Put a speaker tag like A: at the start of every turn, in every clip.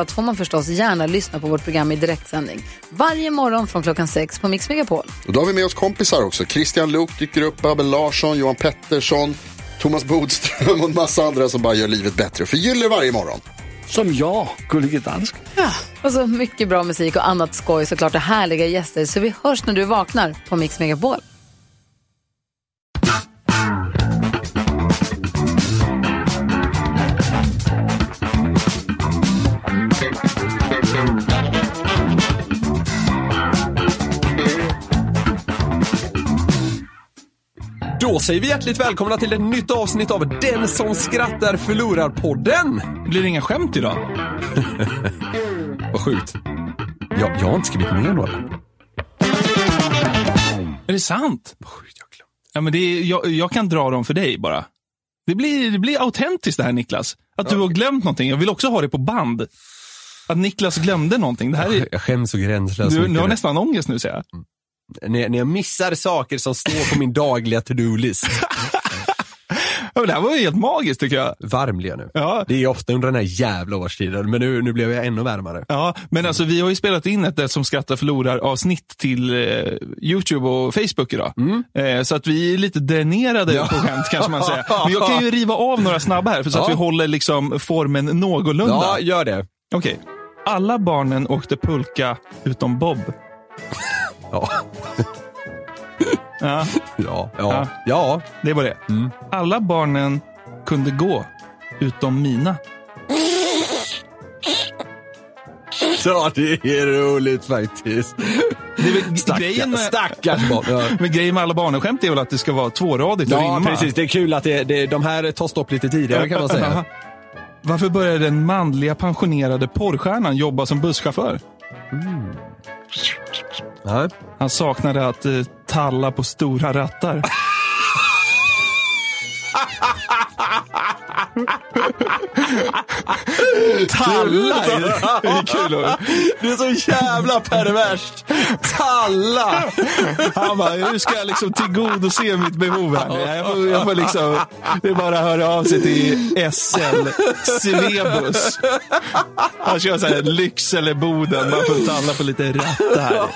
A: allt får man förstås gärna lyssna på vårt program i direktsändning. Varje morgon från klockan sex på Mix Megapol.
B: Och då har vi med oss kompisar också. Christian Luuk dyker upp, Abel Larsson, Johan Pettersson, Thomas Bodström och en massa andra som bara gör livet bättre för gillar varje morgon.
C: Som jag, Gullige Dansken.
A: Och så mycket bra musik och annat skoj såklart och härliga gäster. Så vi hörs när du vaknar på Mix Megapol.
D: Då säger vi hjärtligt välkomna till ett nytt avsnitt av Den som skrattar förlorar-podden. Blir det inga skämt idag? Vad sjukt. Jag, jag har inte skrivit ner några.
E: Är det sant?
D: Vad sjukt, jag glömde.
E: Ja, men det är, jag, jag kan dra dem för dig bara. Det blir, det blir autentiskt det här Niklas. Att du har glömt någonting. Jag vill också ha det på band. Att Niklas glömde någonting. Det här är,
D: Jag skäms så gränslöst
E: du,
D: mycket
E: du har
D: nu.
E: nästan ångest nu ser jag.
D: när, jag- när jag missar saker som står på min dagliga to-do-list.
E: Ja, men det här var ju helt magiskt tycker jag.
D: Varm blir jag nu.
E: Ja.
D: Det är ofta under den här jävla årstiden, men nu, nu blev jag ännu varmare.
E: Ja, men alltså vi har ju spelat in ett Det som skrattar förlorar avsnitt till eh, Youtube och Facebook idag.
D: Mm.
E: Eh, så att vi är lite dränerade på skämt kanske man säger. Men jag kan ju riva av några snabba här för så att
D: Ja.
E: vi håller liksom formen någorlunda.
D: Ja, gör det.
E: Okej. Alla barnen åkte pulka utom Bob.
D: Ja,
E: Ja,
D: ja, ja. ja.
E: det var det. Alla barnen kunde gå utom mina.
D: ja det är roligt faktiskt.
E: Det är väl grejen
D: Stackar,
E: med,
D: stackars barn. Ja.
E: men grejen med alla barnen-skämt är väl att det ska vara tvåradigt och
D: Ja,
E: rimma.
D: precis. Det är kul att det, det, de här tar stopp lite tidigare kan man säga.
E: Varför började den manliga pensionerade porrstjärnan jobba som busschaufför?
D: Ja.
E: Han saknade att eh, talla på stora rattar. talla! är- Det är kul. att-
D: Det är så jävla perverst. Talla!
E: Han bara, hur ska jag liksom tillgodose mitt behov här? Jag får, jag får liksom, det är bara att höra av sig till SL Svebus. Han kör såhär Lycksele Boden, man får talla på lite rattar.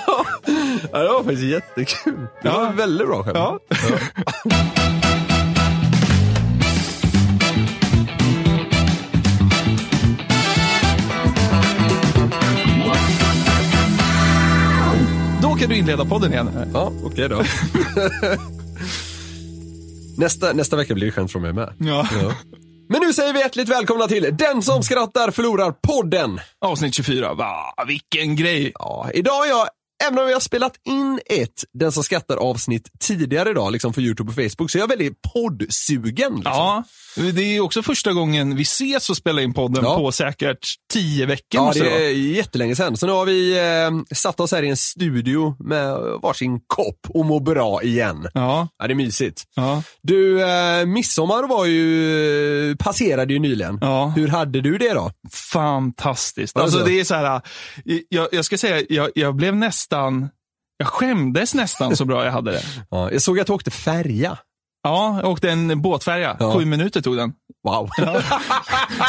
D: Ja, det var faktiskt jättekul. Det
E: Ja.
D: var en väldigt bra skämt.
E: Ja. Då kan du inleda podden igen.
D: Ja, okej då. nästa, nästa vecka blir det skämt från mig med.
E: Ja.
D: Men nu säger vi hjärtligt välkomna till Den som skrattar förlorar podden.
E: Avsnitt 24. Va, vilken grej.
D: Ja, idag är jag, även om jag har spelat in ett Den som skrattar avsnitt tidigare idag, liksom för YouTube och Facebook, så jag är väldigt poddsugen. Liksom.
E: Ja, det är ju också första gången vi ses och spelar in podden
D: Ja.
E: på säkert tio veckor.
D: Ja,
E: måste det
D: det
E: vara.
D: är jättelänge sedan. Så nu har vi eh, satt oss här i en studio med varsin kopp och mår bra igen.
E: ja,
D: Ja, det är mysigt.
E: ja.
D: Du, eh, midsommar var ju, passerade ju nyligen.
E: Ja.
D: Hur hade du det då?
E: Fantastiskt. Alltså,
D: Alltså.
E: det är så här, eh, jag, jag ska säga, jag, jag blev nästan, jag skämdes nästan så bra jag hade det.
D: Ja, jag såg att du åkte färja.
E: Ja, jag åkte en båtfärja.
D: Ja.
E: Sju minuter tog den.
D: Wow.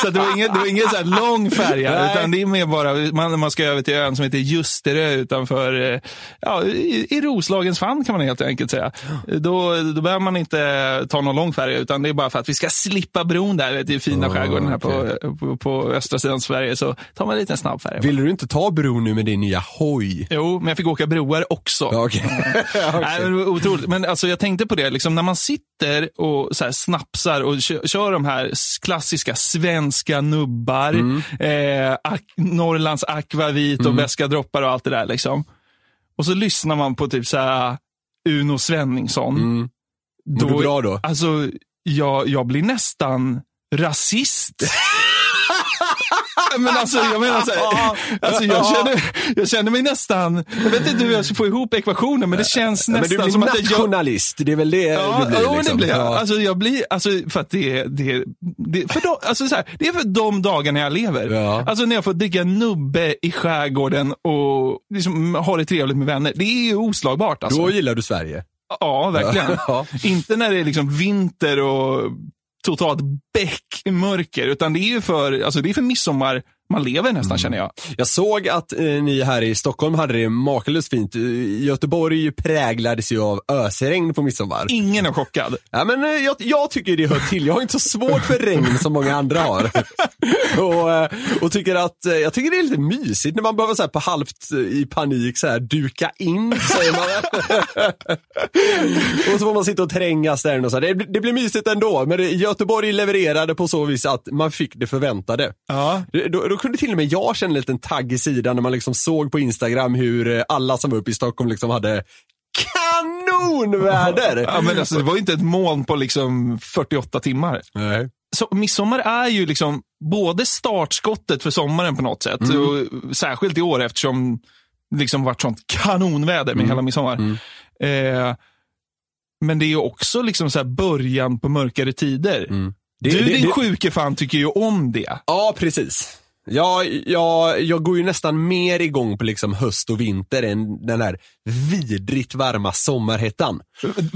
E: Så att det var ingen, det var ingen så här lång färja,
D: Nej.
E: utan det är mer bara man, man ska över till ön som heter Ljusterö utanför, eh, ja, i, i Roslagens famn kan man helt enkelt säga. Då, då behöver man inte ta någon lång färja, utan det är bara för att vi ska slippa bron där vet, du, i fina
D: Ah,
E: skärgården här
D: okej.
E: på, på, på östra sidan Sverige, så tar man en liten snabb färja.
D: Vill du inte ta bron nu med din nya hoj?
E: Jo, men jag fick åka broar också.
D: Ja, okej. Ja,
E: Nej,
D: okej.
E: men det var otroligt. Men alltså, jag tänkte på det, liksom, när man sitter och så här, snapsar och kör, kör de här s- klassiska svenska nubbar,
D: Mm.
E: eh, ak- Norrlands akvavit och beska droppar och allt det där. Liksom. Och så lyssnar man på typ så här, Uno Svenningsson.
D: Mm. Mår du bra då?
E: Alltså, jag, jag blir nästan rasist. men alltså, jag menar så här, alltså, jag, känner, jag känner mig nästan, jag vet inte hur jag ska få ihop ekvationen, men det känns
D: Men du
E: nästan
D: blir
E: som att jag gör
D: nationalist, det är väl det
E: Ja,
D: du blir?
E: jo, det
D: liksom.
E: blir jag.
D: Ja.
E: Alltså, jag blir, alltså, för att det är, det är, det är, för de, alltså, så här, det är för de dagarna jag lever.
D: Ja.
E: Alltså när jag får dricka nubbe i skärgården och liksom, ha det trevligt med vänner. Det är ju oslagbart alltså.
D: Då gillar du Sverige.
E: Ja, verkligen.
D: Ja.
E: Inte när det är liksom vinter och totalt bäckmörker, utan det är ju för, alltså, det är för midsommar man lever nästan känner jag.
D: Jag såg att eh, ni här i Stockholm hade det makalöst fint. Eh, Göteborg präglades ju av ösregn på midsommar.
E: Ingen är chockad.
D: Ja, men eh, jag, jag tycker det hör till. Jag har inte så svårt för regn som många andra har. och, eh, och tycker att, eh, jag tycker det är lite mysigt när man behöver så här på halvt eh, i panik så här duka in, säger man. och så får man sitta och trängas där. Och så här. Det, det blir mysigt ändå, men det- Göteborg levererade på så vis att man fick det förväntade.
E: Ja.
D: Det- Då, då kunde till och med jag känna en liten tagg i sidan när man liksom såg på Instagram hur eh, alla som var uppe i Stockholm liksom hade kanonväder.
E: Ja, men alltså, det var ju inte ett moln på liksom 48 timmar.
D: Nej.
E: så, midsommar är ju liksom både startskottet för sommaren på något sätt.
D: Mm.
E: Och, särskilt i år eftersom det liksom varit sånt kanonväder
D: Mm.
E: med hela midsommar. Eh, men det är ju också liksom så här början på mörkare tider.
D: Mm. Det-
E: du
D: det-
E: din
D: det-
E: sjuke fan tycker ju om det.
D: Ja, precis. Ja, jag, jag går ju nästan mer igång på liksom höst och vinter än den här vidrigt varma sommarhettan.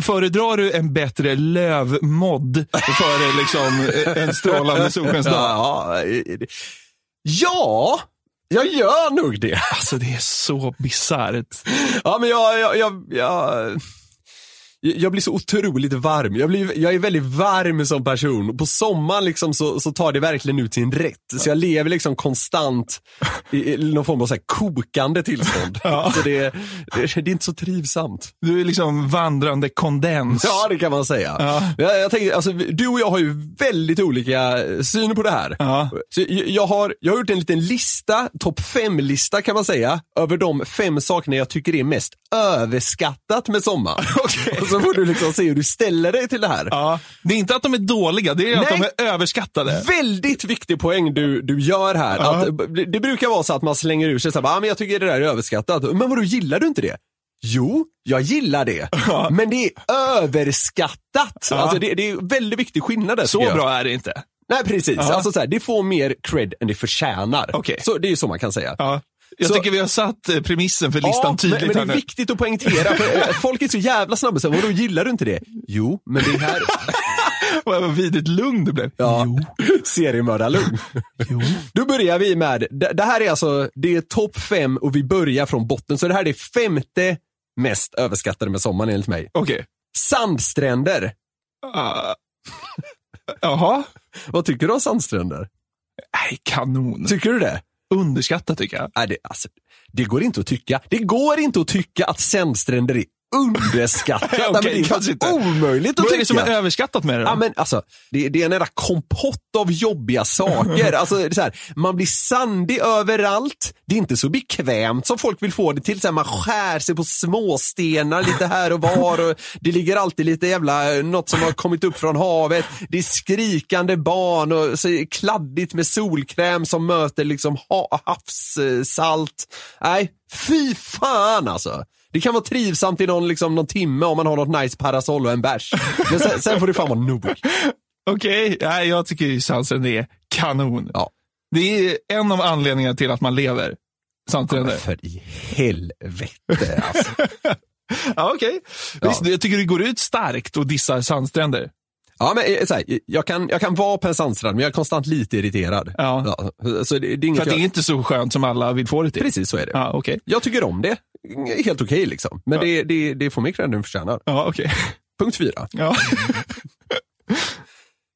E: Föredrar du en bättre lövmodd före liksom en strålande solskensdag?
D: Ja, ja, ja, jag gör nog det.
E: Alltså det är så bisarrt.
D: Ja, men jag, jag, jag, jag, jag blir så otroligt varm. Jag, blir, jag är väldigt varm som person. Och På sommaren liksom så, så tar det verkligen ut sin rätt. Så jag lever liksom konstant i, i någon form av så här kokande tillstånd. Så det, det, det är inte så trivsamt.
E: Du är liksom vandrande kondens.
D: Ja, det kan man säga. Jag, jag tänker, alltså, du och jag har ju väldigt olika syn på det här.
E: Ja.
D: Så jag, jag, har, jag har gjort en liten lista, topp fem-lista kan man säga, över de fem sakerna jag tycker är mest överskattat med sommar. Och så får du liksom se hur du ställer dig till det här.
E: Ja. Det är inte att de är dåliga, det är att
D: Nej.
E: de är överskattade.
D: Väldigt viktig poäng du, du gör här.
E: Ja.
D: Att, b- det brukar vara så att man slänger ur sig så här, ah, men jag tycker det där är överskattat. Men vadå, gillar du inte det? Jo, jag gillar det. Men det är överskattat. Alltså det, det är väldigt viktig skillnad där.
E: Så
D: tycker jag.
E: bra är det inte.
D: Nej, precis.
E: Ja.
D: Alltså så här, det får mer cred än det förtjänar.
E: Okej.
D: Så, det är ju så man kan säga.
E: Ja. Jag
D: Så-
E: tycker vi har satt eh, premissen för listan tydligt
D: men, men
E: här
D: det är
E: nu.
D: viktigt att poängtera. För eh, folk är så jävla snabba. Så här, vadå, gillar du inte det? Jo, men det här...
E: Vad vad vidrigt lugn du blev.
D: Ja, seriemördarlugn. Då börjar vi med, det, det här är alltså, det är topp fem och vi börjar från botten. Så det här är femte mest överskattade med sommaren enligt mig.
E: Okej.
D: Sandstränder.
E: Ah. Jaha.
D: Vad tycker du om sandstränder?
E: Nej, kanon.
D: Tycker du det?
E: Underskattat tycker jag.
D: Nej, det, alltså, det går inte att tycka. Det går inte att tycka att sandstränder är underskattat. Nej, men det är
E: kanske
D: fan
E: inte.
D: omöjligt att
E: Vad är
D: tycka.
E: det som är överskattat med det då?
D: Ja, men alltså, det, det är en jävla kompott av jobbiga saker. Alltså, det är så här, man blir sandig överallt. Det är inte så bekvämt som folk vill få det till. Så här, man skär sig på småstenar lite här och var. Och det ligger alltid lite jävla, eh, något som har kommit upp från havet. Det är skrikande barn och så är det kladdigt med solkräm som möter liksom ha, havssalt. Nej, fy fan alltså. Det kan vara trivsamt i någon, liksom, någon timme om man har något nice parasoll och en bärs. Men sen, sen får det fan vara nog.
E: Okej, nej, jag tycker ju sandstränder är kanon.
D: Ja.
E: Det är en av anledningarna till att man lever. Sandstränder.
D: För i helvete alltså.
E: Ja, okej. Visst, jag tycker du går ut starkt och dissar sandstränder.
D: Ja, men, eh, så här, jag, kan, jag kan vara på en sandstrand men jag är konstant lite irriterad.
E: Ja.
D: så det, det är inget
E: För att det är
D: jag...
E: inte så skönt som alla vill få det till.
D: Precis så är det.
E: Ja, okej.
D: Jag tycker om det. Helt okej liksom. Men det, det, det får mig cred den förtjänar.
E: Ja, okej.
D: Punkt fyra.
E: Ja.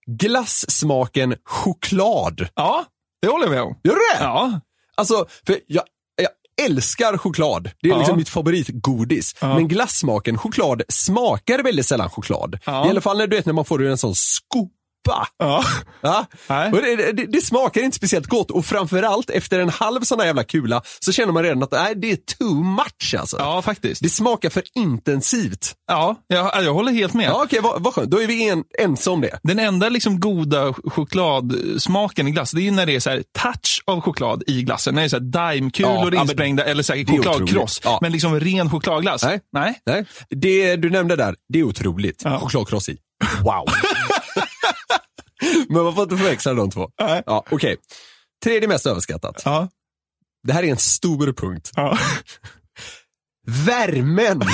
D: Glassmaken choklad.
E: ja, det håller jag med om.
D: Gör du det?
E: Ja,
D: Alltså, för jag, jag älskar choklad. Det är
E: Ja.
D: liksom mitt favoritgodis.
E: Ja.
D: Men glassmaken choklad smakar väldigt sällan choklad.
E: Ja.
D: I alla fall när, du vet, när man får ur en sån skopa soppa.
E: Ja.
D: Ja.
E: Nej.
D: Och det, det, det smakar inte speciellt gott och framförallt efter en halv sån här jävla kula så känner man redan att nej, det är too much alltså.
E: ja, faktiskt.
D: Det smakar för intensivt.
E: Ja, jag, jag håller helt med.
D: Ja, okej, vad, vad skönt. Då är vi en, ense om det.
E: Den enda liksom goda ch- chokladsmaken i glass, det är ju när det är så här touch av choklad i glassen. När det är så här
D: Ja,
E: daimkulor
D: ja, men-
E: insprängda eller så här
D: är
E: chokladkross.
D: otroligt. Ja.
E: Men liksom ren chokladglass.
D: Nej.
E: Nej.
D: Nej. Det du nämnde där, det är otroligt.
E: Ja.
D: Chokladkross i. Wow. Men man får inte förväxla de två.
E: Nej.
D: Ja, Okej. Tredje mest överskattat.
E: Ja.
D: Det här är en stor punkt.
E: Ja.
D: Värmen!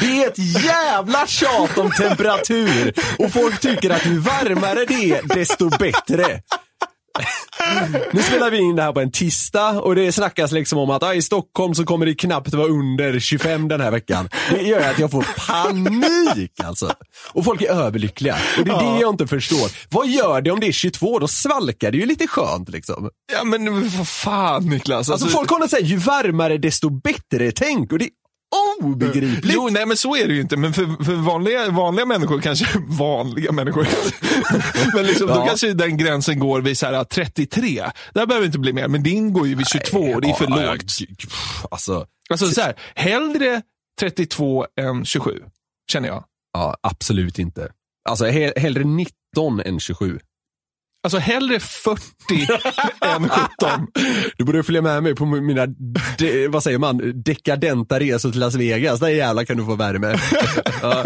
D: Det är ett jävla tjat om temperatur och folk tycker att ju varmare det är, desto bättre. Nu spelar vi in det här på en tisdag och det snackas liksom om att ah, i Stockholm så kommer det knappt vara under 25 den här veckan. Det gör att jag får panik alltså. Och folk är överlyckliga. Och det är det jag inte förstår. Vad gör det om det är 22? Då svalkar det ju lite skönt liksom.
E: ja, men vad fan Niklas.
D: Alltså folk håller säger ju varmare desto bättre tänk och det är obegripligt.
E: Jo, nej men så är det ju inte. Men för, för vanliga, vanliga människor, kanske vanliga människor. men liksom, då
D: Ja.
E: kanske den gränsen går vid så här, 33. Där behöver det inte bli mer. Men din går ju vid 22 och det är för
D: Ja, ja,
E: lågt.
D: g- pff, Alltså,
E: Alltså så här, hellre 32 än 27. Känner jag.
D: ja, absolut inte. Alltså he- hellre 19 än 27.
E: Alltså hellre 40 än 17.
D: Du borde följa med mig på mina, de, vad säger man, dekadenta resor till Las Vegas. Där jävlar kan du få värme. ja.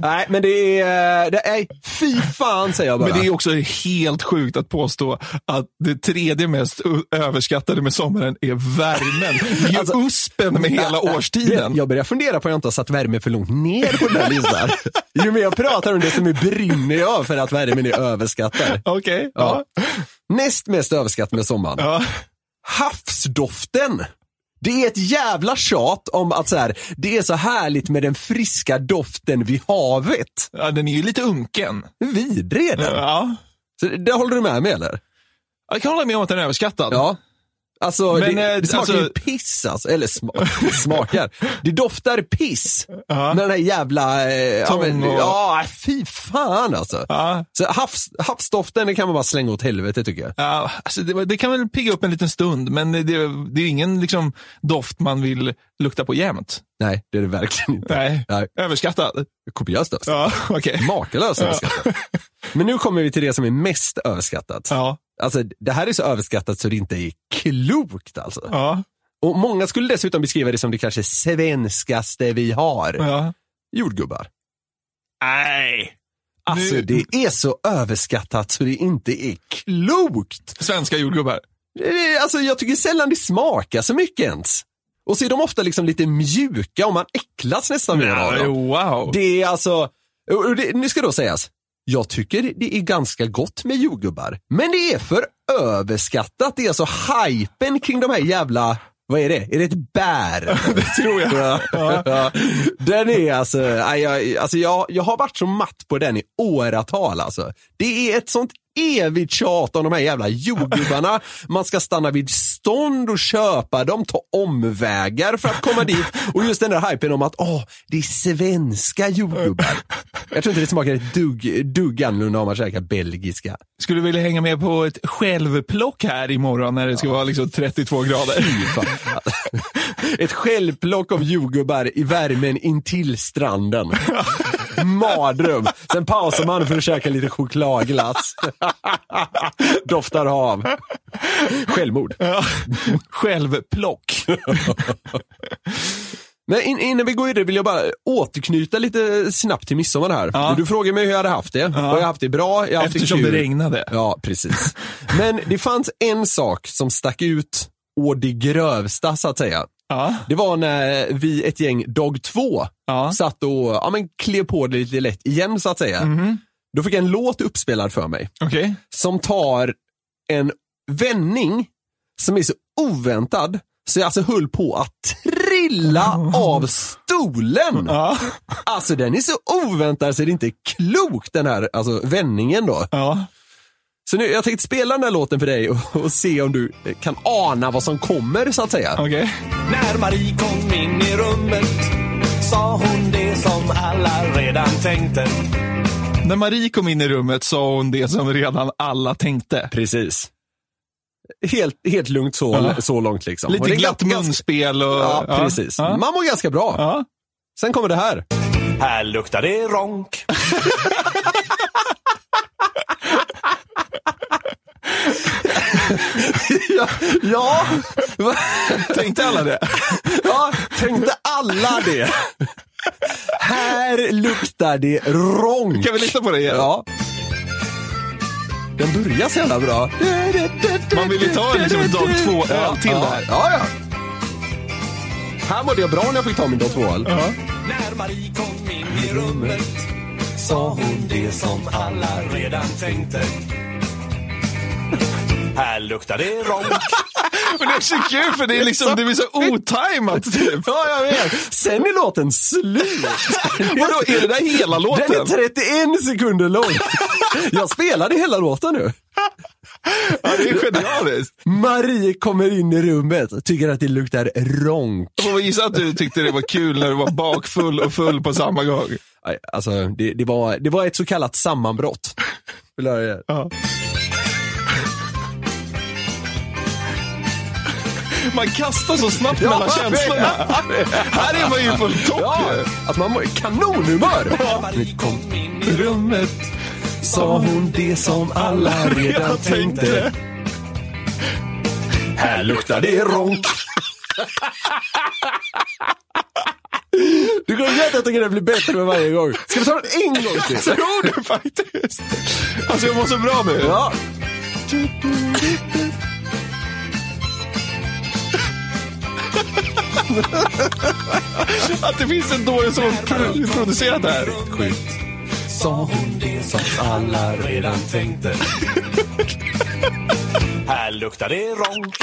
D: Nej, men det är, det är, fy fan säger jag bara.
E: Men det är också helt sjukt att påstå att det tredje mest ö- överskattade med sommaren är värmen. Det är ju
D: Alltså-
E: uspen med hela årstiden.
D: Det- Jag börjar fundera på om jag inte har satt värme för långt ner på den här listan. Ju mer jag pratar om det, desto mer brinner jag för att värmen är överskattad.
E: Okej.
D: Ja.
E: ja.
D: Näst mest överskattat med sommaren.
E: Ja.
D: havsdoften. Det är ett jävla tjat om att så här, det är så härligt med den friska doften vid havet.
E: ja, den är ju lite unken.
D: Hur vidrig är den?
E: Ja.
D: Så det håller du med mig eller?
E: Jag kan hålla med om att den är överskattad.
D: Ja. Alltså,
E: Men,
D: det,
E: eh,
D: det smakar ju
E: alltså-
D: piss alltså. Eller sma- smakar. Det doftar piss.
E: Ja.
D: Med den här jävla... Eh, ja, men,
E: Tång och-
D: ja, fy fan alltså.
E: Ja.
D: Så havs, havsdoften det kan man bara slänga åt helvete tycker jag.
E: Ja, alltså det, var- det kan väl pigga upp en liten stund, men det, det är ingen liksom, doft man vill lukta på jämt.
D: Nej, det är det verkligen inte.
E: Nej.
D: Nej.
E: Överskattad.
D: Kopiöst alltså.
E: Ja, okej.
D: Makalöst överskattat. Men nu kommer vi till det som är mest överskattat.
E: Ja,
D: Alltså, det här är så överskattat så det inte är klokt alltså.
E: ja,
D: Och många skulle dessutom beskriva det som det kanske svenskaste vi har.
E: ja.
D: Jordgubbar.
E: Nej.
D: Alltså
E: Nu-
D: det är så överskattat så det inte är klokt.
E: Svenska jordgubbar.
D: Det är- Alltså jag tycker sällan det smakar så mycket ens. Och så är de ofta liksom lite mjuka och man äcklas nästan mer av
E: Ja,
D: dem.
E: wow.
D: Det är alltså, och- och det, nu ska då sägas, jag tycker det är ganska gott med jordgubbar. Men det är för överskattat. Det är alltså hypen kring de här jävla, vad är det? Är det ett bär? det tror jag. ja. Den är alltså, nej, jag, alltså jag, jag har varit så matt på den i åratal alltså. Det är ett sånt evigt tjat om de här jävla jordgubbarna. Man ska stanna vid stånd och köpa dem, ta omvägar för att komma dit. Och just den där hypen om att åh, det är svenska jordgubbar. Jag tror inte det smakar ett dugg, dugg annorlunda om man käkar belgiska.
E: Skulle vilja hänga med på ett självplock här imorgon när det ska vara liksom 32 grader.
D: Fy fan. Ett självplock av jordgubbar i värmen intill stranden. Mardröm. Sen pausar man för att käka lite chokladglass. Doftar hav. Självmord.
E: Ja. Självplock.
D: Men in, innan vi går vidare vill jag bara återknyta lite snabbt till midsommar här.
E: Ja.
D: Du frågar mig hur jag hade haft det. Har jag haft det bra? Jag har haft
E: Eftersom
D: det
E: det
D: kul.
E: regnade.
D: Ja, precis. Men det fanns en sak som stack ut å det grövsta så att säga.
E: Ja.
D: Det var när vi, ett gäng dag två,
E: Ja.
D: satt och ja, men, klev på det lite lätt igen så att säga.
E: Mhm.
D: Då fick jag en låt uppspelad för mig
E: Okej.
D: som tar en vändning som är så oväntad så jag alltså höll på att trilla av stolen.
E: Ja.
D: Alltså den är så oväntad så det är inte klokt den här alltså, vändningen då.
E: Ja.
D: Så nu, jag tänkte spela den här låten för dig och, och se om du eh, kan ana vad som kommer så att säga.
E: Okej.
D: När Marie kom in i rummet
F: sa hon det som alla redan tänkte.
E: När Marie kom in i rummet sa hon det som redan alla tänkte.
D: Precis. Helt, helt lugnt så,
E: Ja.
D: så långt liksom. Och
E: Lite
D: det är
E: glatt
D: ganska-
E: munspel och...
D: Ja, precis.
E: Ja.
D: Man mår ganska bra.
E: Ja.
D: Sen kommer det här.
F: Här luktar det ronk.
D: Ja,
E: Tänkte alla det?
D: ja tänkte alla det. Här luktar det ronk.
E: Kan vi lyssna på det igen?
D: Ja. Den börjar så jävla bra.
E: Man vill ju ta en liksom dag två öl till
D: ja,
E: där.
D: Ja, ja. Här mådde jag bra när jag fick ta min dag två öl.
F: När Marie kom in i rummet sa hon det som alla redan tänkte. Här luktar det ronk.
E: Men det är så kul för det är liksom, det blir så otajmat typ.
D: Ja, jag vet. Sen är låten slut.
E: Vadå, är det där hela låten?
D: Den är 31 sekunder lång. Jag spelade hela låten nu.
E: Ja, det är genialiskt.
D: Marie kommer in i rummet och tycker att det luktar ronk.
E: Jag får gissa att du tyckte det var kul när du var bakfull och full på samma gång.
D: Aj, Alltså, det, det, var, det var ett så kallat sammanbrott. Vill du höra det?
E: Man kastar så snabbt mellan känslorna. Här är man ju på topp
D: Ja,
E: ju.
D: att man mår i kanonhumör.
F: Marie kom in i
E: Rummet
D: Sa hon det som alla redan tänkte. Här luktar det ronk. Du kommer veta att det kan bli bättre med varje gång. Ska vi ta det en gång till?
E: Tror du faktiskt? Alltså jag mår så bra nu.
D: Ja.
E: Att det finns en dåre som har pro- producerat det här.
F: sa hon det som alla redan tänkte. Här luktar det ronk.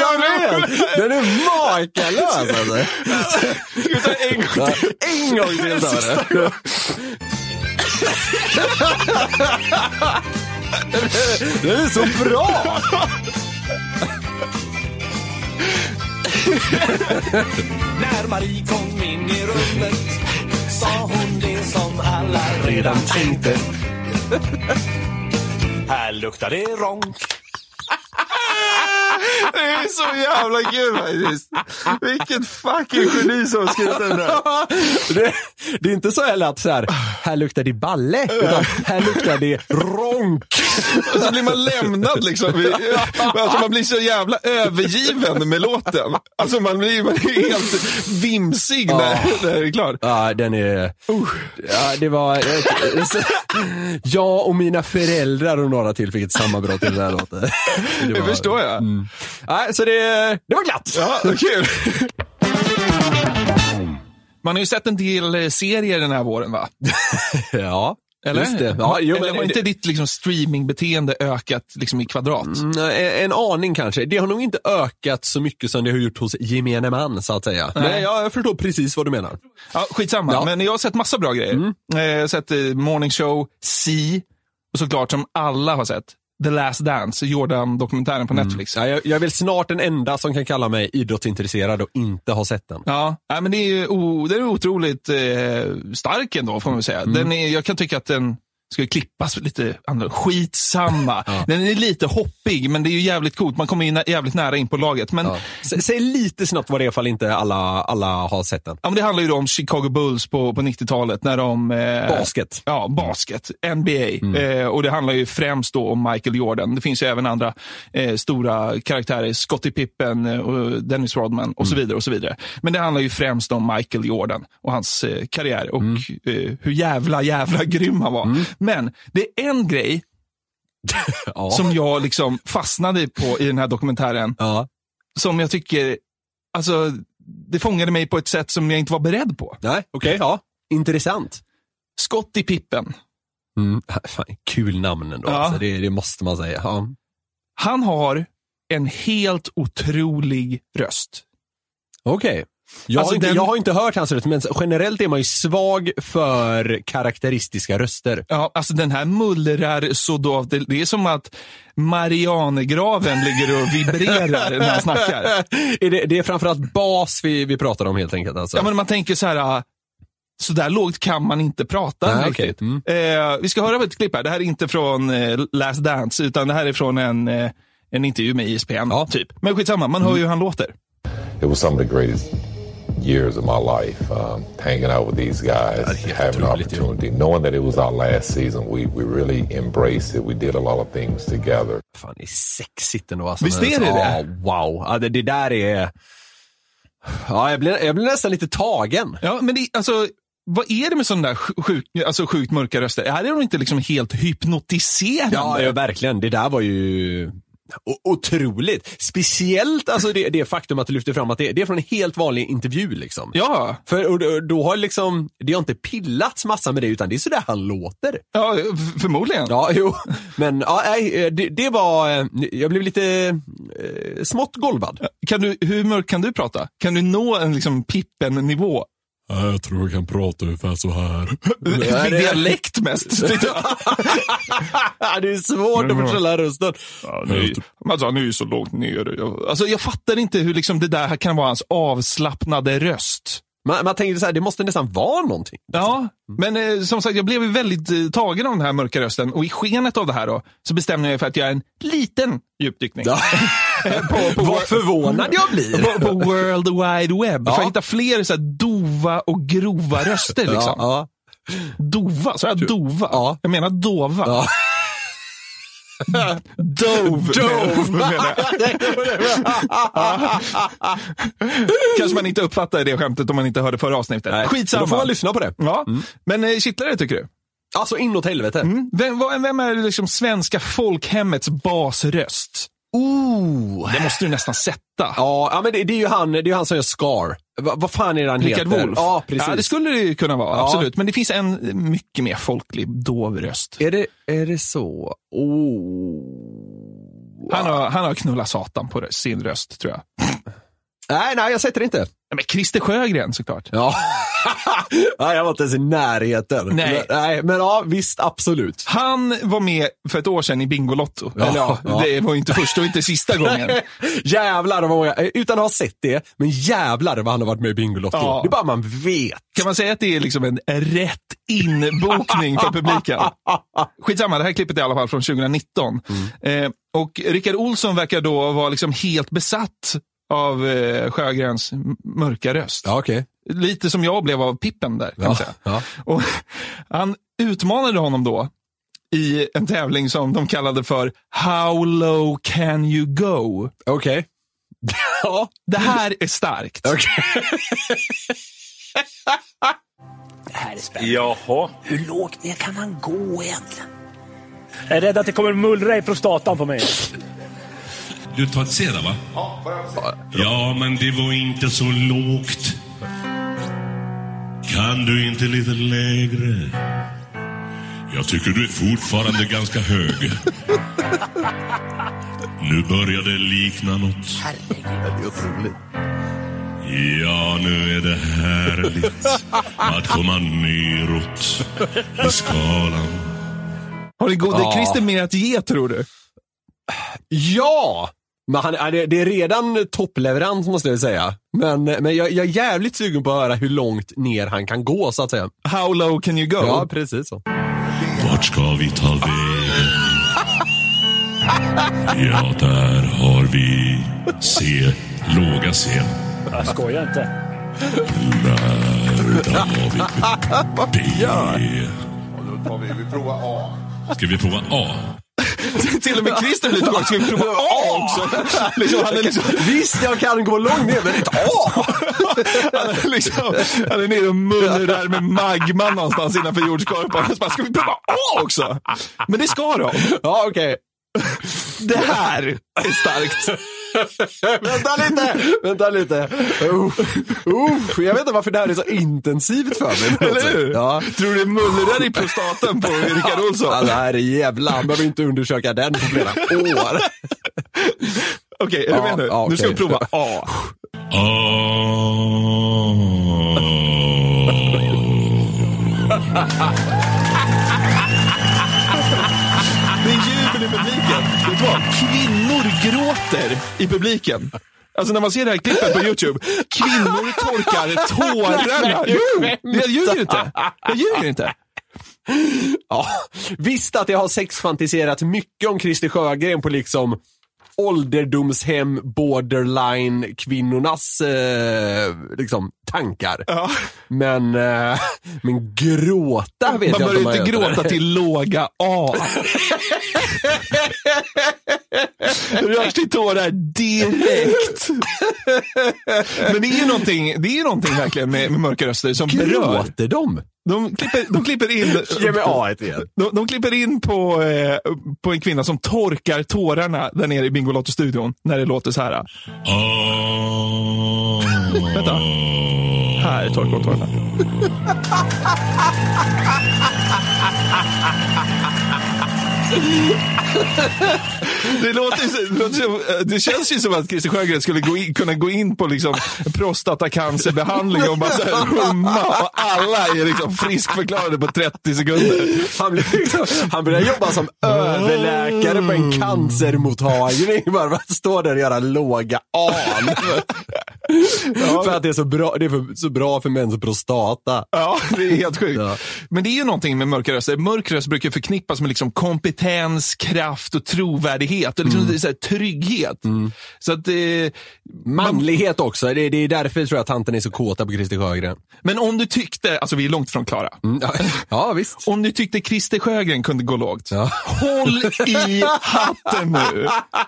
D: Jag vet! Den är makalös alltså.
E: Ska vi ta en gång
D: Ja, En gång till tar vi det. Det är så bra!
F: När Marie kom in i rummet sa hon det som alla redan tänkte. Här luktar det ronk.
E: Det är så jävla kul faktiskt. Vilket fucking geni som har skrivit den där.
D: Det, det är inte så heller att så här, här luktar det balle, utan här luktar det ronk.
E: Och så blir man lämnad liksom. I- Alltså man blir så jävla övergiven med låten. Alltså man blir, man är helt vimsig när, när det är klart.
D: Ja, den är... Ja, det var... Jag och mina föräldrar och några till fick ett sammanbrott i den här låten.
E: Det förstår jag.
D: Nej, så det, det var glatt.
E: Mm. Ja, vad kul. Man har ju sett en del eh, serier den här våren va?
D: Ja,
E: Eller?
D: just det. Ja, jo,
E: Eller
D: men-
E: har inte ditt liksom, streamingbeteende ökat liksom, i kvadrat?
D: Mm, en, en aning kanske. Det har nog inte ökat så mycket som det har gjort hos gemene man, så att säga. Nej, Men jag, jag förstår precis vad du menar.
E: Ja, skitsamma,
D: Ja. Mm.
E: men jag har sett massa bra grejer. Eh, Jag har sett eh, Morning Show, Si och såklart som alla har sett, The Last Dance, Jordan-dokumentären
D: Mm.
E: på Netflix.
D: Ja, jag, jag vill snart den enda som kan kalla mig idrottsintresserad och inte ha sett den.
E: Ja, nej, men det är ju o, den är otroligt eh, stark ändå, får man väl säga. Den är, jag kan tycka att den ska klippas lite annorlunda. Skitsamma. Den är lite hoppig, men det är ju jävligt coolt. Man kommer ju nä- jävligt nära in på laget. Men
D: Ja. S- Säg lite snabbt vad det är ifall inte alla, alla har sett den.
E: Ja, men det handlar ju då om Chicago Bulls på, på 90-talet. när de... Eh,
D: Basket.
E: Ja, basket. NBA. Eh, och Det handlar ju främst då om Michael Jordan. Det finns ju även andra eh, stora karaktärer. Scottie Pippen, eh, och Dennis Rodman och så vidare. och så vidare. Men det handlar ju främst om Michael Jordan och hans eh, karriär och eh, hur jävla, jävla grym han var. Men det är en grej
D: Ja.
E: som jag liksom fastnade på i den här dokumentären
D: ja.
E: som jag tycker... Alltså, det fångade mig på ett sätt som jag inte var beredd på.
D: Nej, okej. ja. Intressant.
E: Skott i pippen.
D: Mm. Fan, kul namn ändå.
E: Ja.
D: Alltså, det, det måste man säga. Ja.
E: Han har en helt otrolig röst.
D: Okej. Jag,
E: Alltså,
D: har inte,
E: den-
D: jag har inte hört hans röst, men generellt är man ju svag för karaktäristiska röster.
E: Ja, alltså den här mullrar så då, det, det är som att Marianegraven ligger och vibrerar när han snackar.
D: är det, det är framförallt bas vi, vi pratar om helt enkelt. Alltså.
E: Ja, men man tänker så här, ah, så där lågt kan man inte prata
D: Nej,
E: riktigt.
D: okej. Mm.
E: Eh, vi ska höra på ett klipp här. Det här är inte från eh, Last Dance, utan det här är från en, eh, en intervju med ISPN. Typ. Men skitsamma, man hör ju hur han låter.
G: it was some of the greatest years of my life um, hanging out with these guys having an opportunity knowing that it was our last season we, we really embraced it we did a lot of things together
D: Fan, det är sexigt ändå. Alltså,
E: Visst
D: Men,
E: är det
D: ja,
E: det?
D: Wow, ja, det, det där är... Ja, jag, blir, jag blir nästan lite tagen.
E: Ja, men det, alltså, vad är det med sådana där sj- sjuk, alltså sjukt mörka röster? Här är de inte liksom helt hypnotiserande.
D: Ja, ja, verkligen. Det där var ju o- otroligt. Speciellt alltså, det, det faktum att du lyfter fram att det, det är från en helt vanlig intervju. Liksom.
E: ja.
D: För och, då- då har liksom, det har inte pillats massa med det, utan det är sådär han låter.
E: ja f- förmodligen.
D: Ja, jo. Men ja, nej, eh, det, det var, eh, jag blev lite eh, smått golvad.
E: Kan du, hur mörkt kan du prata? Kan du nå en liksom Pippen-nivå?
C: Jag tror jag kan prata ungefär så här.
E: Med
D: det-
E: dialekt mest. tyckte jag.
D: det är svårt att förställa rösten.
E: Ja, nu, alltså, han är ju så lågt ner. Jag, alltså, jag fattar inte hur liksom, det där här kan vara hans avslappnade röst.
D: Man, man tänker så här, det måste nästan vara någonting.
E: Ja, men eh, som sagt, jag blev ju väldigt eh, tagen av den här mörka rösten och i skenet av det här då, så bestämde jag mig för att göra en liten djupdykning. på, på,
D: Vad förvånad jag blir.
E: på, på World Wide Web för
D: Ja.
E: att hitta fler så här dova och grova röster. Liksom.
D: Ja,
E: Dova? Sa jag dova?
D: Ja.
E: Jag menar dova. Dove. Dove. menar jag. Kanske man inte uppfattar det skämtet om man inte hörde förra avsnittet.
D: ja.
E: Skitsamma.
D: Då får man lyssna Mm. på det.
E: Ja. Men eh, kittlare tycker du?
D: Alltså inåt helvete.
E: Vem, vad- vem är liksom svenska folkhemmets basröst?
D: Ooh.
E: Det måste du nästan sätta.
D: Ja, ja, men det, det är ju han, det är ju han som gör Scar. Va- Vad fan är det han
E: Rickard
D: heter?
E: Wolff.
D: Ja, precis.
E: Ja, det skulle det ju kunna vara,
D: Ja.
E: absolut. Men det finns en mycket mer folklig, dov röst.
D: Är det, är det så? Oh.
E: Han har, han har knullat satan på sin röst, tror jag.
D: Nej, nej, jag sätter det inte.
E: Ja, Men Christer Sjögren såklart.
D: Ja. nej, jag var inte ens i närheten.
E: Nej.
D: Men, nej, men ja, visst, absolut.
E: Han var med för ett år sedan i Bingolotto.
D: Ja,
E: Eller ja,
D: ja.
E: det var ju inte första och inte sista gången.
D: jävlar vad många, eh, utan att ha sett det, men jävlar vad han har varit med i Bingolotto.
E: Ja.
D: Det är bara man vet.
E: Kan man säga att det är liksom en rätt inbokning för publiken? Skitsamma, det här klippet är i alla fall från 2019.
D: Mm.
E: Eh, och Rickard Olsson verkar då vara liksom helt besatt av eh, Sjögrens m- mörka röst.
D: okej.
E: Lite som jag blev av Pippen där. Kan man säga.
D: ja.
E: Och han utmanade honom då i en tävling som de kallade för How low can you go?
D: Okej. ja.
E: Det här är starkt.
H: Jaha.
I: Hur lågt ner kan han gå egentligen?
H: Jag är rädd att det kommer mullra i prostatan på mig.
F: Du tar ett sedan va? Ja, men det var inte så lågt. Kan du inte lite lägre? Jag tycker du är fortfarande ganska hög. Nu börjar det likna något. Ja, nu är det härligt att komma neråt i skalan.
E: Har det gode
D: Ja.
E: Christer mer att ge tror du?
D: ja. Men han, ja, det det är redan toppleverans måste jag säga. Men, men jag, jag är jävligt sugen på att höra hur långt ner han kan gå så att säga. Mm.
E: How low can you go?
D: Ja, precis så.
F: Vart ska vi ta vägen? Ja, där har vi C, låga C.
H: Jag skojar inte.
F: Där, där har vi B. Ska vi prova A?
E: Till och med Christer blir tillbaka. Ska vi prova A också? Liksom, han, är liksom,
D: Visst, jag kan gå långt ner, men inte åh!
E: han, är liksom, han är nere och mullrar med magma någonstans innanför jordskorpan. Han bara, Ska vi prova A också? Men det ska de.
D: Ja, okej.
E: Det här är starkt.
D: Vänta lite! Vänta lite. Uff, uff. Jag vet inte varför det här är så intensivt för mig. på något
E: Eller hur?
D: sätt. Ja.
E: Tror du det mullrar i prostatan på Rickard Olsson?
D: Ja, det här är jävla, han behöver inte undersöka den på flera år.
E: Okej, är du med nu?
D: Ja, ja,
E: Nu ska
D: okej.
E: vi Ah. prova A. Det är jubel i publiken. Vet du vad? Kvinnor gråter i publiken. Alltså när man ser det här klippet på Youtube. Kvinnor torkar tårarna.
D: Nej,
E: Jo,
D: skämtar.
E: jag ljuger inte. Jag ljuger inte.
D: Ja, visst att jag har sexfantiserat mycket om Christer Sjögren på liksom ålderdomshem, borderline, kvinnornas eh, liksom, tankar. Men, eh, men gråta vet
E: Man
D: jag
E: bör
D: om
E: inte
D: gör.
E: gråta till låga A. Rörs till tårar direkt. Men det är ju någonting, det är ju någonting verkligen med, med mörka röster som berör.
D: Gråter de?
E: De klipper, de klipper in...
D: Ge mig A igen.
E: De, de klipper in på, eh, på en kvinna som torkar tårarna där nere i Bingolotto-studion när det låter så här. Vänta. Här torkar hon tårarna. Det, låter, ju så- det, låter, som- det känns ju som att Christer Sjögren skulle gå in, kunna gå in på liksom prostatacancerbehandling och bara så här humma och alla är liksom friskförklarade på 30 sekunder.
D: Han, blir liksom, han börjar jobba som överläkare på en cancermottagning. Bara för att stå där och göra låga an. För att det är så bra, det är för, så bra för mäns prostata.
E: Ja, det är helt sjukt.
D: Ja.
E: Men det är ju någonting med mörka röster. Mörk röst brukar förknippas med liksom kompetens, kraft och trovärdighet. Och liksom
D: Mm.
E: det är så här trygghet. Så att, eh,
D: Manlighet också. Det, det är därför tror jag att tanten är så kåta på Christer Sjögren.
E: men om du tyckte, alltså vi är långt från klara.
D: Mm, ja, ja, visst.
E: Om du tyckte Christer Sjögren kunde gå lågt,
D: Ja.
E: håll i hatten nu.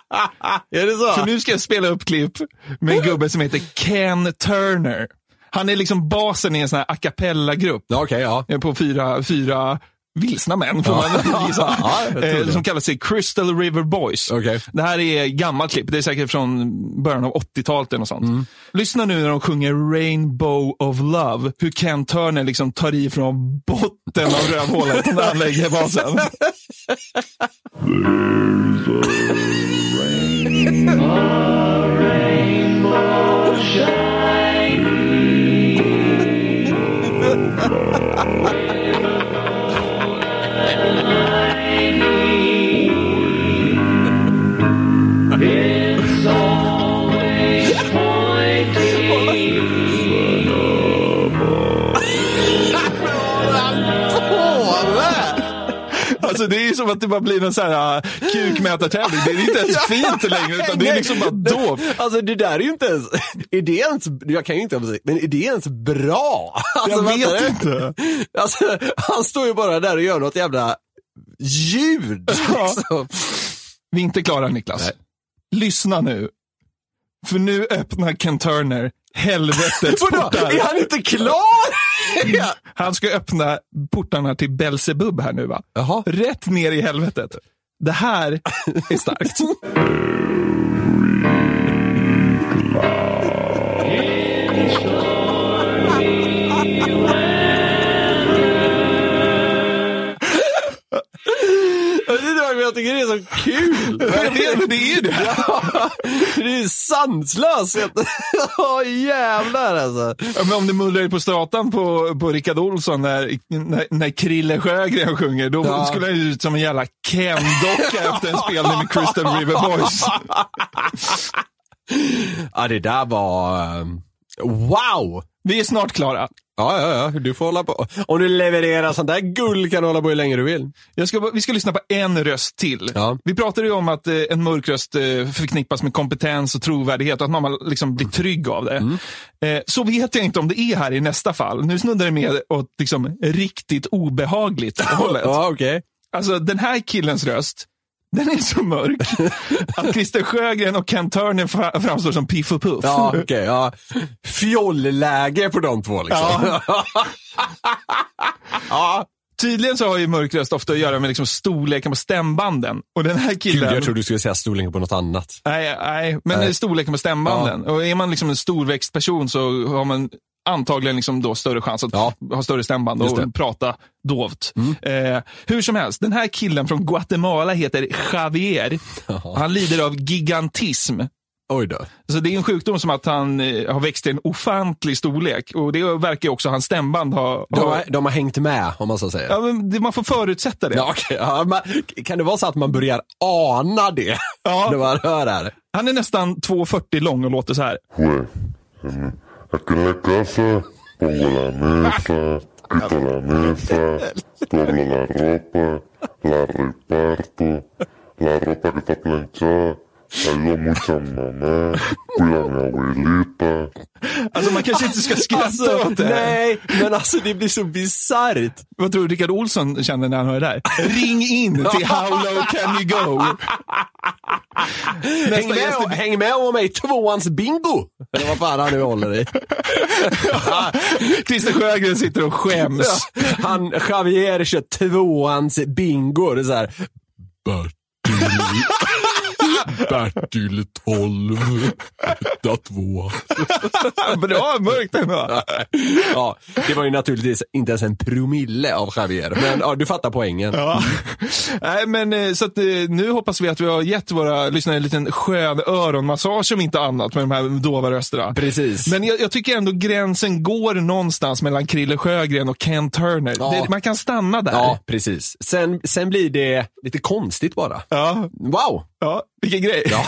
D: Är det
E: För
D: så?
E: nu ska jag spela upp klipp med en gubbe som heter Ken Turner. Han är liksom basen i en sån här a cappella-grupp
D: Ja, Okej, ja.
E: eh, på fyra, fyra vilsna män, får man gissa.
D: Ja, jag tror
E: Eh,
D: det.
E: som kallar sig Crystal River Boys.
D: Okej.
E: Det här är gammalt klipp. Det är säkert från början av 80-talet eller något sånt.
D: Mm.
E: Lyssna nu när de sjunger Rainbow of Love. Hur Ken Turner liksom tar i från botten av rövhålet när han lägger basen. Alltså det är ju som att det bara blir en sån här äh, kukmätartävling. Det är inte ens fint längre utan det är liksom bara dåp.
D: Alltså det där är ju inte ens, är det ens, jag kan ju inte ha musik, men är det ens bra? Alltså,
E: Jag
D: vänta
E: vet
D: nu.
E: inte.
D: Alltså, han står ju bara där och gör något jävla ljud. Liksom.
E: Vi är inte klara Niklas. Lyssna nu. För nu öppnar Ken Turner helvetets
D: Vadå, är
E: portar. Mm.
D: han inte klar?
E: Han ska öppna portarna till Belsebub här nu va?
D: Jaha.
E: Rätt ner i helvetet. Det här är starkt.
D: Jag vet inte varför jag tycker det är så kul.
E: Jag vet, men det är ju det.
D: Det är ju sanslöst. Åh jävlar alltså.
E: Ja, men om det mullrar i prostatan på, på Rickard Olsson när, när, när Krille Sjögren sjunger, då
D: Ja.
E: skulle han ju ut som en jävla Ken-docka efter en spelning med Crystal River Boys.
D: Ja det där var, ehm, wow.
E: Vi är snart klara.
D: Ja, ja, ja. Du får hålla på. Om du levererar sånt där guld kan du hålla på hur länge du vill.
E: Jag ska, bara- vi ska lyssna på en röst till.
D: Ja.
E: Vi pratade ju om att eh, en mörk röst eh, förknippas med kompetens och trovärdighet och att man liksom blir trygg av det. Eh, så vet jag inte om det är här i nästa fall. Nu snuddar det mer åt liksom, riktigt obehagligt hållet.
D: Ja, okej.
E: Alltså den här killens röst, den är så mörk att Christer Sjögren och Ken Turner fra- framstår som Piff och Puff.
D: Ja, okej. ja. Fjollläge på de två liksom.
E: Ja. Tydligen så har ju mörk röst ofta att göra med liksom storleken på stämbanden. Och den här killen...
D: Gud, jag trodde du skulle säga storleken på något annat.
E: Nej, nej men
D: Nej.
E: storleken på stämbanden. Och är man liksom en storväxt person så har man antagligen liksom då större chans att
D: Ja.
E: ha större stämband
D: Just det. Mm.
E: och prata dovt. Eh, hur som helst, den här killen från Guatemala heter Javier. Han lider av gigantism. Oj då. Så det är en sjukdom som att han eh, har växt till en ofantlig storlek och det verkar ju också hans stämband ha...
D: De
E: ha
D: har, de har hängt med, om man så säger.
E: Ja, men det- man får förutsätta det.
D: Ja, okej. ja, man, kan det vara så att man börjar ana det när man hör det här?
E: Han är nästan 2,40 lång och låter så här.
J: Güey, eh, aquí en la casa pongo la mesa, quito la mesa, doblo la ropa, la reparto, la ropa que está planchada, ayudo mucho a mamá, cuido a mi abuelita.
E: Alltså man kanske inte ska skratta
D: Alltså,
E: åt det här.
D: nej, men alltså det blir så bisarrt.
E: Vad tror du Rickard Olsson känner när han hör det där? Ring in till How low can you go?
D: Häng med,
E: gäst är-
D: häng med om mig, tvåans bingo! Eller vad fan han nu håller i.
E: Christer Sjögren sitter och skäms.
D: Han, Javier kör tvåans bingo. och Det är så här,
C: Bertil 12, etta 2.
E: Bra, mörkt ändå.
D: ja, det var ju naturligtvis inte ens en promille av Javier, men ja, du fattar poängen.
E: Ja.
D: Mm.
E: Nej, men eh, så att eh, nu hoppas vi att vi har gett våra lyssnare en liten skön öronmassage om inte annat med de här dova rösterna.
D: Precis.
E: Men jag, jag tycker ändå gränsen går någonstans mellan Krille Sjögren och Ken Turner.
D: Ja.
E: Det, man kan stanna där.
D: Ja, precis. Sen, sen blir det lite konstigt bara.
E: Ja.
D: Wow!
E: Ja, vilken grej.
D: Ja.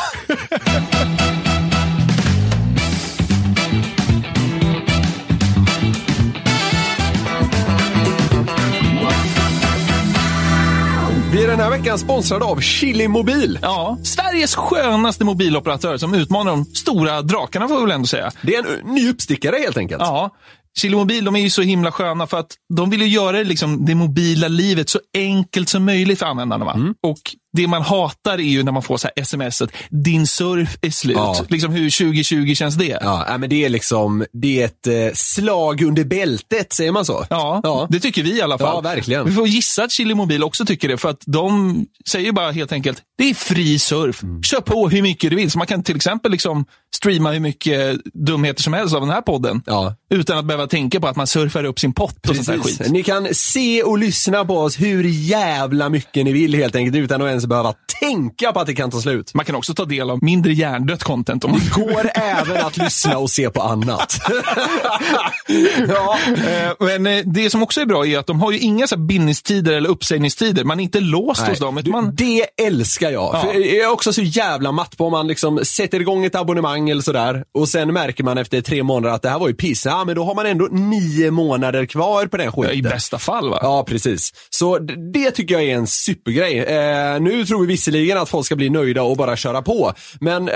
D: Vi är den här veckan sponsrade av Chili Mobil.
E: Ja, Sveriges skönaste mobiloperatör som utmanar de stora drakarna får vi väl ändå säga.
D: Det är en ny uppstickare helt enkelt.
E: Ja. Kilomobil, de är ju så himla sköna för att de vill ju göra liksom det mobila livet så enkelt som möjligt för användarna. Va?
D: Mm.
E: Och det man hatar är ju när man får så här sms att din surf är slut.
D: Ja.
E: Liksom hur 2020 känns det?
D: Ja, nej, men det är liksom, det är ett eh, slag under bältet, säger man så?
E: Ja,
D: Ja.
E: det tycker vi i alla fall.
D: Ja, verkligen.
E: Vi får gissa att Chili Mobil också tycker det, för att de säger ju bara helt enkelt, det är fri surf.
D: Mm.
E: Kör på hur mycket du vill. Så man kan till exempel liksom streama hur mycket dumheter som helst av den här podden.
D: Ja.
E: Utan att behöva tänka på att man surfar upp sin pott och sånt där skit.
D: Ni kan se och lyssna på oss hur jävla mycket ni vill helt enkelt, utan att ens behöva tänka på att det kan ta slut.
E: Man kan också ta del av mindre hjärndött content. Om man...
D: Går även att lyssna och se på annat. ja.
E: Eh, Men eh, det som också är bra är att de har ju inga så här bindningstider eller uppsägningstider. Man är inte låst hos dem.
D: du,
E: Utan man...
D: Det älskar jag.
E: Ja.
D: För jag är också så jävla matt på om man liksom sätter igång ett abonnemang eller sådär och sen märker man efter tre månader att det här var ju piss. Ja, men då har man ändå nio månader kvar på den skiten.
E: I bästa fall va?
D: Ja, precis. Så d- det tycker jag är en supergrej. Eh, nu tror vi visserligen att folk ska bli nöjda och bara köra på, men eh,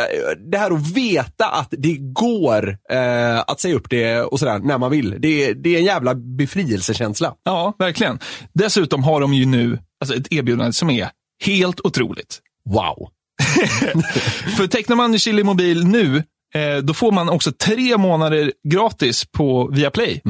D: det här att veta att det går eh, att säga upp det och sådär när man vill, det, det är en jävla befrielsekänsla.
E: Ja, verkligen. Dessutom har de ju nu alltså ett erbjudande som är helt otroligt.
D: Wow.
E: För tecknar man Chili Mobil nu, eh, då får man också tre månader gratis på Viaplay.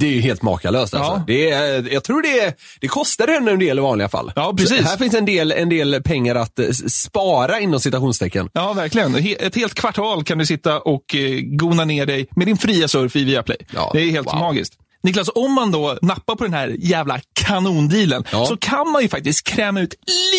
D: Det är ju helt makalöst alltså.
E: Ja.
D: Det är, jag tror det, är- det kostar henne en del i vanliga fall.
E: Ja, precis.
D: Så Här finns en del, en del pengar att eh, s- spara inom citationstecken.
E: Ja, verkligen. He- Ett helt kvartal kan du sitta och eh, gona ner dig med din fria surf i Viaplay.
D: Ja,
E: det är helt
D: wow.
E: magiskt. Niklas, om man då nappar på den här jävla kanondealen
D: Ja.
E: så kan man ju faktiskt kräma ut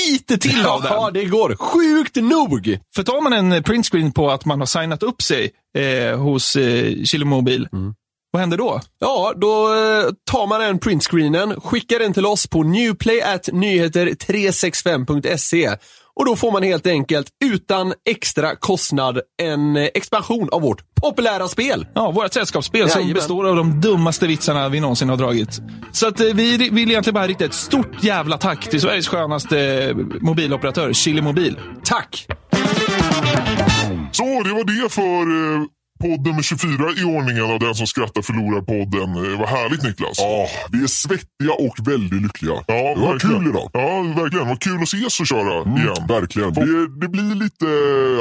E: lite till av den.
D: Ja, det går. Sjukt nog!
E: För tar man en eh, printscreen på att man har signat upp sig eh, hos eh, Chili Mobil,
D: Mm.
E: vad händer då?
D: Ja, då eh, tar man den printscreenen, skickar den till oss på newplay.nyheter365.se och då får man helt enkelt utan extra kostnad en eh, expansion av vårt populära spel.
E: Ja, vårt sällskapsspel som
D: Jajamän.
E: består av de dummaste vitsarna vi någonsin har dragit. Så att eh, vi ri- vill egentligen bara rikta ett stort jävla tack till Sveriges skönaste eh, mobiloperatör, Chili Mobil.
D: Tack!
J: Så, det var det för eh, podd nummer 24 i ordningen av Den som skrattar förlorar podden. Eh, vad härligt Niklas. Ja, vi är svettiga och väldigt lyckliga. Ja, det var kul idag. Ja, verkligen. Vad kul att ses och köra igen. Verkligen. Det, det blir lite,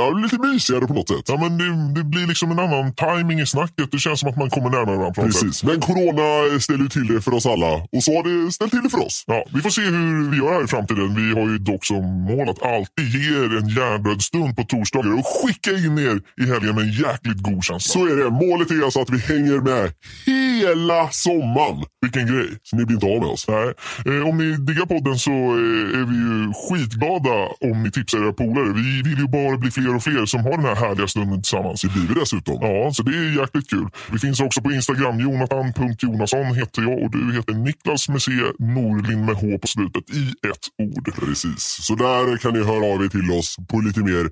J: ja, lite mysigare på något sätt. Ja, men det, det blir liksom en annan timing i snacket. Det känns som att man kommer närmare varandra. Precis. Men corona ställer ju till det för oss alla. Och så har det ställt till det för oss. Ja, vi får se hur vi gör här i framtiden. Vi har ju dock som mål att alltid ge er en hjärndöd stund på torsdagar och skicka in er i helgen med en jäkligt god känsla. Så är det. Målet är alltså att vi hänger med hela sommaren. Vilken grej. Så ni blir inte av med oss. Nej. Eh, om ni diggar podden så eh, är vi ju skitglada om ni tipsar era eh, polare. Vi vill ju bara bli fler och fler som har den här härliga stunden tillsammans. Det blir vi dessutom. Ja, så det är jäkligt kul. Vi finns också på Instagram. Jonathan.Jonasson heter jag och du heter Niklas med C, Norlin med H på slutet i ett ord. Precis. Så där kan ni höra av er till oss på lite mer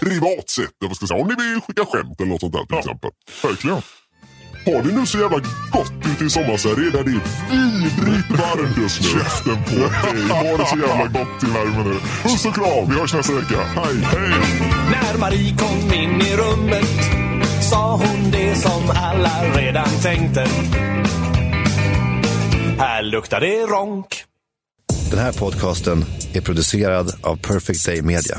J: privat sätt. eller vad ska jag säga, Om ni vill skicka skämt eller något sånt där till exempel. Verkligen. Har det nu så jävla gott ute i sommarsverige där det är vidrigt varmt just nu. Käften på dig. Ha det så jävla gott i värmen nu. Puss och kram. Vi hörs nästa vecka. Hej, hej.
F: När Marie kom in i rummet sa hon det som alla redan tänkte. Här luktar det ronk.
K: Den här podcasten är producerad av Perfect Day Media.